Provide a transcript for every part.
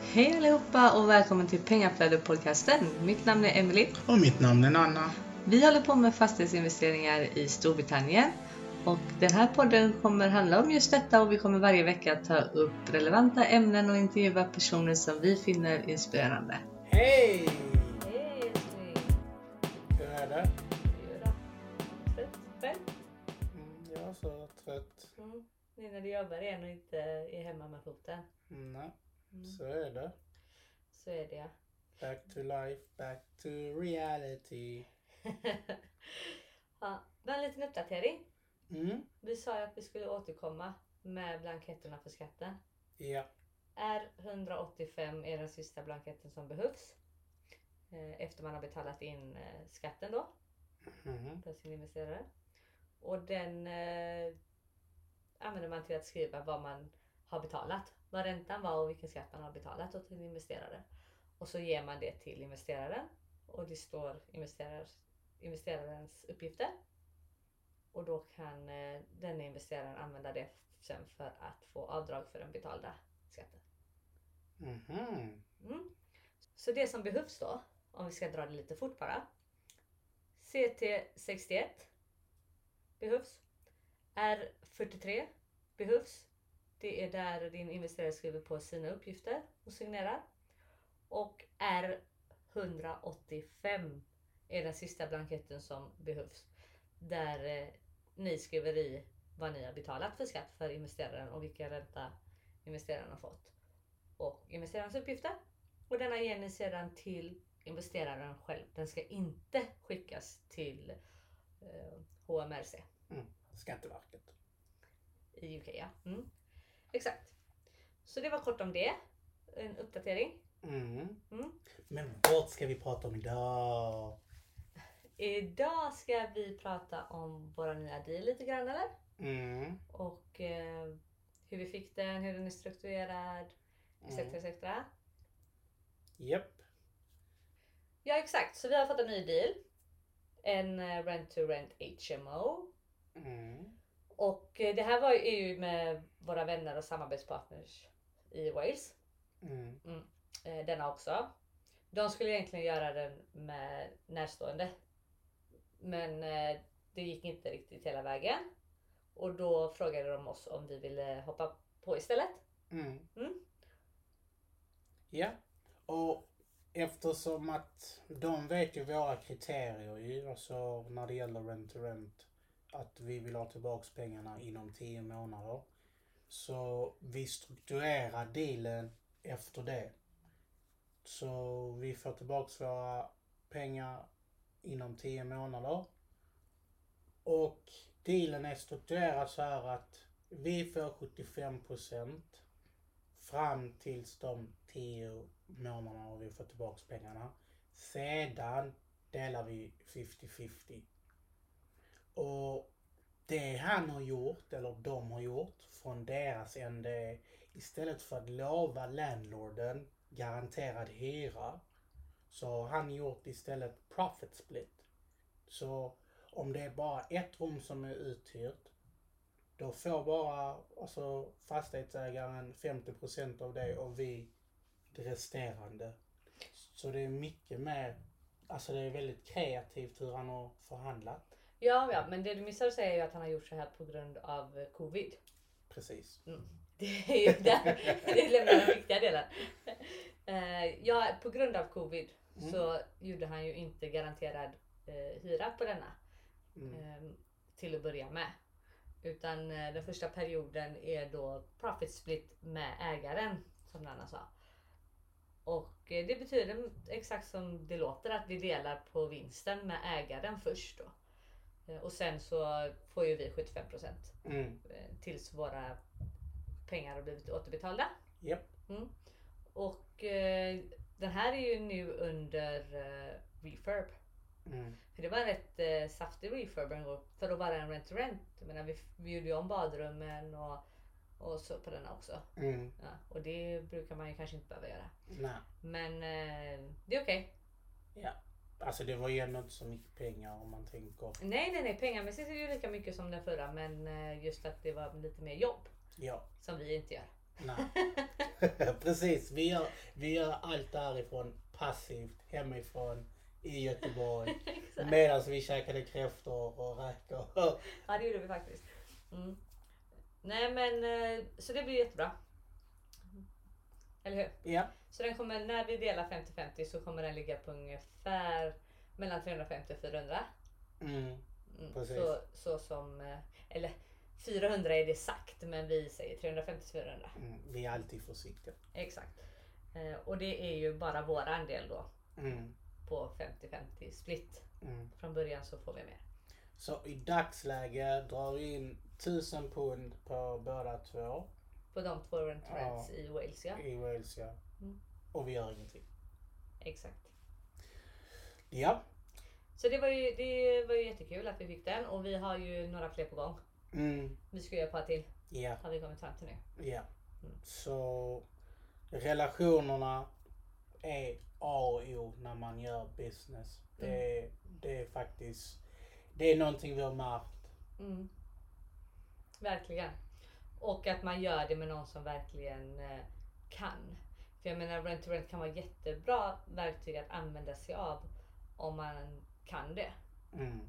Hej allihopa och välkommen till Pengaflödet-podcasten. Mitt namn är Emily. Och mitt namn är Anna. Vi håller på med fastighetsinvesteringar i Storbritannien och den här podden kommer handla om just detta och vi kommer varje vecka ta upp relevanta ämnen och intervjua personer som vi finner inspirerande. Hej! Hej Esmi! Hur är det? Hur är det? Trött? Själv? Mm, jag är så trött. Mm. Nu när du jobbar igen och inte är hemma med foten Nej, Mm. så är det. så är det ja. Back to life, back to reality. ja. Men en liten uppdatering. Mm. Vi sa ju att vi skulle återkomma med blanketterna för skatten. Ja. R185 är den sista blanketten som behövs. eh, Efter man har betalat in eh, skatten då Mhm. för sin investerare. Och den eh, använder man till att skriva vad man har betalat. Vad räntan var och vilken skatt man har betalat åt en investerare. Och så ger man det till investeraren. Och det står investerar, investerarens uppgifter. Och då kan eh, den investeraren använda det sen för att få avdrag för den betalda skatten. Mhm. Mm. Så det som behövs då, om vi ska dra det lite fort bara. CT61 behövs. R43 behövs. Det är där din investerare skriver på sina uppgifter och signerar. Och R185 är den sista blanketten som behövs. Där eh, ni skriver i vad ni har betalat för skatt för investeraren och vilken ränta investeraren har fått. Och investerarens uppgifter och denna ger ni sedan till investeraren själv. Den ska inte skickas till eh, HMRC Skatteverket. i UK. Ja. Mm. Exakt. Så det var kort om det. En uppdatering. Mm. Mm. Men vad ska vi prata om idag? Idag ska vi prata om våra nya deal lite grann eller? Mm. Och eh, hur vi fick den, hur den är strukturerad, etc. Mm. etc. Japp. Ja exakt, så vi har fått en ny deal. En eh, rent-to-rent HMO Mm. Och eh, det här var ju EU med våra vänner och samarbetspartners i Wales. Mm. eh, Denna också. De skulle egentligen göra den med närstående. Men eh, det gick inte riktigt hela vägen. Och då frågade de oss om vi ville hoppa på istället. Mm. Mm. Ja. Och eftersom att de vet ju våra kriterier ju, alltså när det gäller rent to rent, att vi vill ha tillbaks pengarna inom 10 månader. Så vi strukturerar dealen efter det. Så vi får tillbaks våra pengar inom 10 månader. Och dealen är strukturerad så här att vi får 75 procent fram tills de 10 månaderna och vi får tillbaks pengarna. Sedan delar vi 50-50. Och det han har gjort, eller de har gjort, från deras ände istället för att lova landlorden garanterad hyra så har han gjort istället profit split. Så om det är bara ett rum som är uthyrt då får bara alltså, fastighetsägaren 50 av det och vi det resterande. Så det är mycket mer, alltså det är väldigt kreativt hur han har förhandlat. Ja, ja, men det du missar att säga är ju att han har gjort så här på grund av eh, covid. Precis. Det är ju där det lämnar den viktiga delen. Eh, ja, på grund av covid Mm. så gjorde han ju inte garanterad eh, hyra på denna Mm. eh, till att börja med. Utan eh, den första perioden är då profit split med ägaren som Nanna sa. Och eh, det betyder exakt som det låter att vi delar på vinsten med ägaren först då. Eh, och sen så får ju vi 75 procent Mm. eh, tills våra pengar har blivit återbetalda. Mm. Japp. Och eh, den här är ju nu under eh, refurb. Mm. För det var en rätt eh, saftig refurb en gång för att vara en rent to rent. Jag menar, vi, vi gjorde ju om badrummen och, och så på denna också. Mm. Ja, och det brukar man ju kanske inte behöva göra. Nej. Men eh, det är okej. Ja. Alltså det var ju ändå inte så mycket pengar om man tänker. Nej, nej, nej. Pengamässigt är det ju lika mycket som den förra men eh, just att det var lite mer jobb Ja. som vi inte gör. Nej. Precis, vi gör, vi gör allt därifrån passivt, hemifrån, i Göteborg. Exakt. Medan vi käkade kräftor och räkor. Ja det gjorde vi faktiskt. Mm. Nej men eh, så det blir jättebra. Eller hur? ja, Så den kommer, när vi delar 50-50 så kommer den ligga på ungefär mellan 350 och 400. mm, Mm, Precis. Så, så som, eh, eller 400 är det sagt men vi säger 350-400. mm, vi är alltid försiktiga. Exakt. Eh, Och det är ju bara vår andel då Mm, på 50-50 split. mm. Från början så får vi mer. Så i dagsläget drar vi in 1000 pund på båda två På de två rent Ja. rents i Wales ja. i Wales ja. Mm. Och vi gör ingenting. Exakt. Ja. Så det var, ju, det var ju jättekul att vi fick den och vi har ju några fler på gång. Mm. Vi ska göra ett par till Ja, har vi kommit fram till nu. ja. Mm. Så relationerna är A och O när man gör business. Det, Mm. det är faktiskt, det är någonting vi har märkt. Mm. Verkligen. Och att man gör det med någon som verkligen eh, kan. För jag menar rent to rent kan vara jättebra verktyg att använda sig av om man kan det. Mm.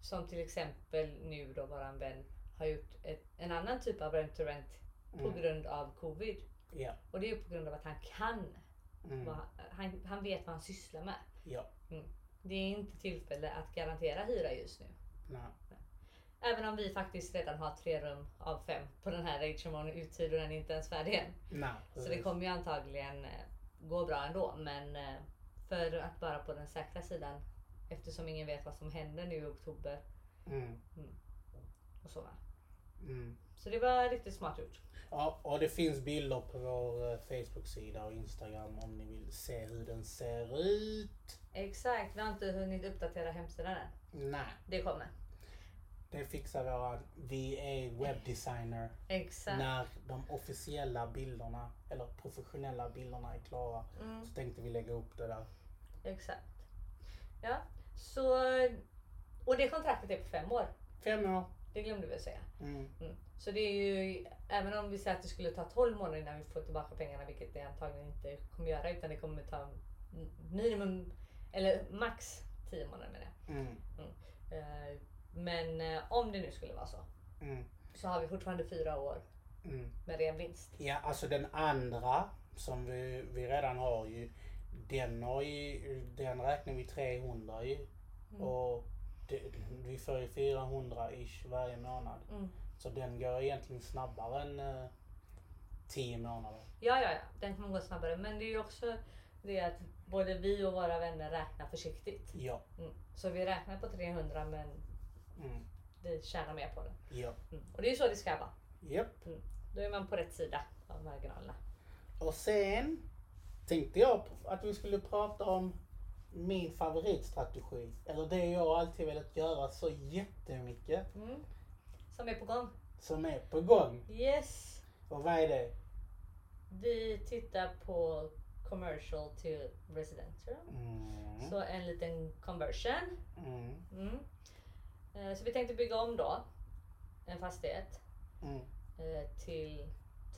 Som till exempel nu då våran vän har gjort ett, en annan typ av rent to rent på Mm. grund av covid. Ja. Och det är ju på grund av att han kan. Mm. Vad, han, han vet vad han sysslar med. Ja. Det är inte tillfälle att garantera hyra just nu. Nej. Även om vi faktiskt redan har tre rum av fem på den här Atriumon uthyrd och den är inte ens färdig än. Nej. Så det precis. kommer ju antagligen eh, gå bra ändå. Men eh, för att vara på den säkra sidan eftersom ingen vet vad som händer nu i oktober Mm. och så. va. Mm. Så det var riktigt smart gjort. Ja, och det finns bilder på vår eh, Facebook-sida och Instagram om ni vill se hur den ser ut. Exakt, vi har inte hunnit uppdatera hemsidan än. Nej, Det kommer. det fixar våra. Vi är webbdesigner. Exakt. När de officiella bilderna, eller professionella bilderna är klara Mm. så tänkte vi lägga upp det där. Exakt. Ja, så... Och det kontraktet är på fem år. Fem år. Det glömde vi att säga. Mm. Mm. Så det är ju, även om vi säger att det skulle ta 12 månader innan vi får tillbaka pengarna, vilket det antagligen inte kommer göra, utan det kommer ta m- minimum, eller max 10 månader med det. Mm. Eh, Men eh, om det nu skulle vara så, Mm. så har vi fortfarande fyra år Mm. med ren vinst. Ja, alltså den andra som vi, vi redan har ju, den, har ju, den räknar vi 300 ju. Och det, vi får ju 400-ish varje månad. Mm. Så den går egentligen snabbare än eh, 10 månader. Ja, ja, ja, den kommer gå snabbare. Men det är ju också det att både vi och våra vänner räknar försiktigt. Ja. Mm. Så vi räknar på 300 men Mm. vi tjänar mer på det. Ja. Mm. Och det är ju så det ska vara. Japp. Då är man på rätt sida av marginalerna. Och sen tänkte jag på- att vi skulle prata om min favoritstrategi. Eller det jag alltid velat göra så jättemycket. Mm. Som är på gång. Som är på gång. Yes! Och vad är det? Vi tittar på commercial till residential. Mm. Så en liten conversion. Mm. Mm. Eh, Så vi tänkte bygga om då en fastighet Mm. eh, till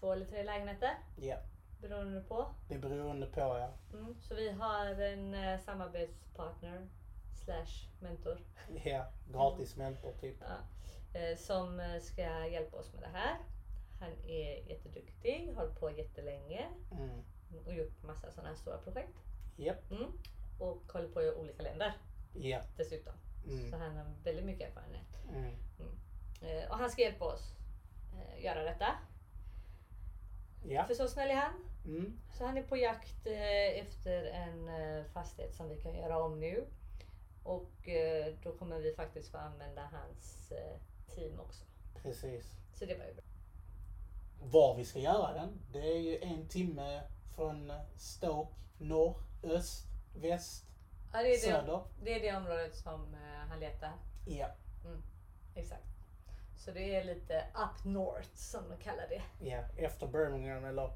två eller tre lägenheter Ja. beroende på. Det är beroende på ja. Mm. Så vi har en eh, samarbetspartner slash mentor Ja. Gratis Mm. mentor typ. eh, som eh, ska hjälpa oss med det här. Han är jätteduktig, har hållit på jättelänge Mm. och gjort massa sådana här stora projekt. Japp. Mm. Och håller på i olika länder Ja. dessutom. Så Mm. han har väldigt mycket erfarenhet. Mm. Eh, och han ska hjälpa oss eh, göra detta. Ja. För så snäll är han. Mm. Så han är på jakt eh, efter en eh, fastighet som vi kan göra om nu. Och eh, då kommer vi faktiskt få använda hans eh, team också. Precis. Så det var ju bra. Var vi ska göra den, det är ju en timme från Stoke, norr, öst, väst, Ja, det, är det, söder. det är det området som eh, han letar. Ja, Exakt. Så det är lite up north som de kallar det. ja, efter Birmingham eller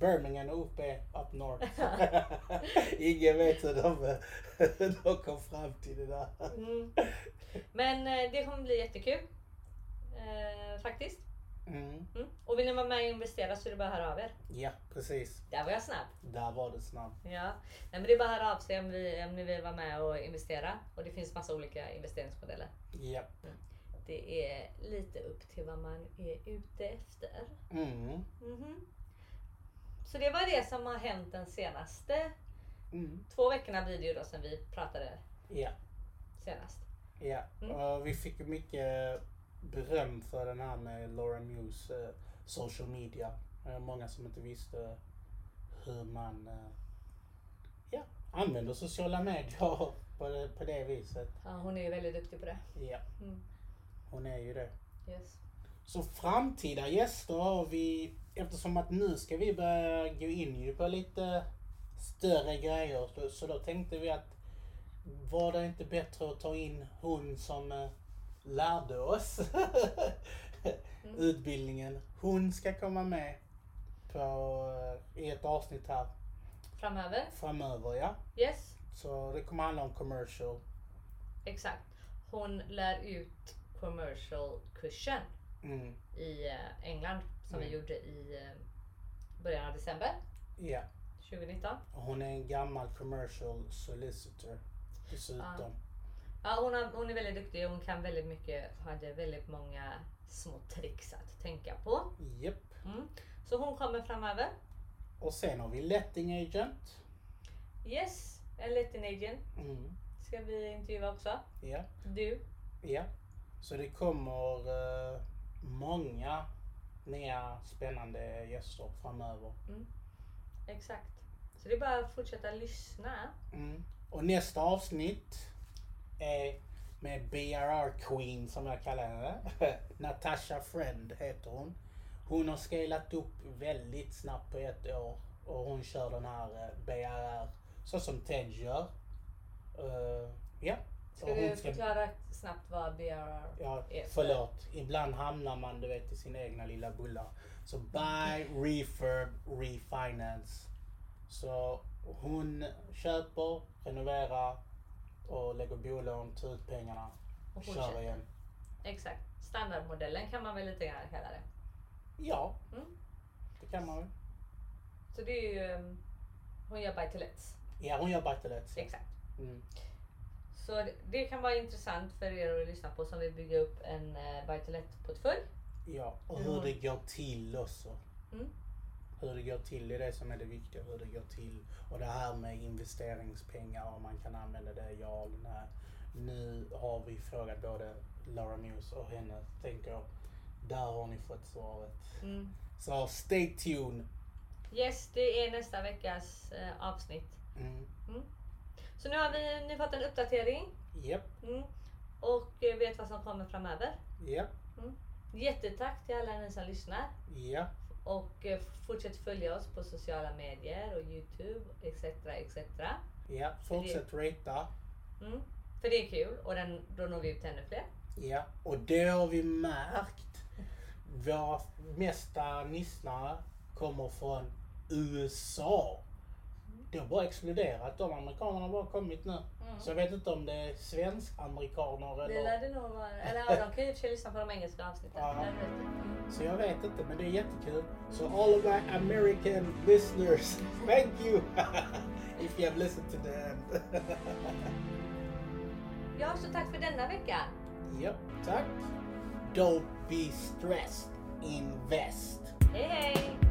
Birmingham och upp är up north. Ingen vet hur de, de kom fram till det där. Mm. Men eh, det kommer bli jättekul. Eh, faktiskt. Mm. Mm. Och vill ni vara med och investera så är det bara att höra av er. Ja, precis. Där var jag snabb. Där var du snabb. Ja. Nej, men det är bara att höra av sig om, vi, om ni vill vara med och investera. Och det finns massa olika investeringsmodeller. Ja. Det är lite upp till vad man är ute efter. Mm. Mhm. Så det var det som har hänt den senaste Mm. två veckorna blir det ju då sen vi pratade Ja. senast. Ja, Mm. och vi fick ju mycket beröm för den här med Laura Mews eh, social media. Eh, många som inte visste hur man eh, ja, använder sociala medier på det, på det viset. Ja, hon är ju väldigt duktig på det. Ja, Mm. hon är ju det. Yes. Så framtida gäster har vi, eftersom att nu ska vi börja gå in ju på lite större grejer. Så, så då tänkte vi att var det inte bättre att ta in hon som eh, lärde oss utbildningen. Hon ska komma med på, eh, i ett avsnitt här Framöver. framöver ja. Yes, Så det kommer handla om commercial. exakt. Hon lär ut commercial kursen Mm. i eh, England som vi Mm. gjorde i eh, början av december Ja, 2019. hon är en gammal commercial solicitor dessutom. Ja, hon, har, hon är väldigt duktig och hon kan väldigt mycket, hade väldigt många små tricks att tänka på. Japp. Mm. Så hon kommer framöver. Och sen har vi Letting Agent. Yes, en liten agent Mm. ska vi intervjua också. Ja, Du. ja. Så det kommer eh, många nya spännande gäster framöver. Exakt. Så det är bara att fortsätta lyssna. Mm. Och nästa avsnitt är med BRR Queen som jag kallar henne. Natasha Friend heter hon. Hon har scalat upp väldigt snabbt på ett år och hon kör den här eh, BRR så som Ted gör. Eh, ja. Ska Och du hon ska- förklara snabbt vad BRR Ja, är? förlåt. Ibland hamnar man du vet i sina egna lilla bullar. Så buy, refurb, refinance. Så hon köper, renoverar och lägger bolån, tar ut pengarna, Och kör fortsätter. igen. Exakt. Standardmodellen kan man väl lite grann kalla det. Ja, Mm. det kan man väl. Så det är ju... um, Hon gör by to lets. Ja, hon gör bachelet. Exakt. Mm. Så det- det kan vara intressant för er att lyssna på som vill bygga upp en eh, buy to let-portfölj. Ja, och Ja. hur det går till också. Mm. Hur det går till, det är det som är det viktiga. Hur det går till. Och det här med investeringspengar, om man kan använda det, ja eller nej. Nu har vi frågat både Laura Muse och henne, tänker jag. Där har ni fått svaret. Mm. Så stay tuned. Yes, det är nästa veckas eh, avsnitt. Mm. Så nu har vi nu fått en uppdatering Japp, mm. och eh, vet vad som kommer framöver. japp, Jättetack till alla ni som lyssnar japp. och eh, fortsätt följa oss på sociala medier och Youtube etc. etc. Ja, fortsätt ratea. Mm. För det är kul och den, då når vi ut till ännu fler. Ja, och det har vi märkt. Våra mesta lyssnare kommer från USA. Det har bara exploderat. De amerikanerna har bara kommit nu. Mm. Så jag vet inte om det är svensk-amerikaner Det eller... lär det nog vara. Eller ja, de kan ju i och för sig lyssna på de engelska avsnitten. Ja. Det är rätt. Så jag vet inte, men det är jättekul. So all of my American listeners, thank you! If you have listened to the end. Ja, så tack för denna vecka. Japp, tack. Don't be stressed. Invest. Hej hej!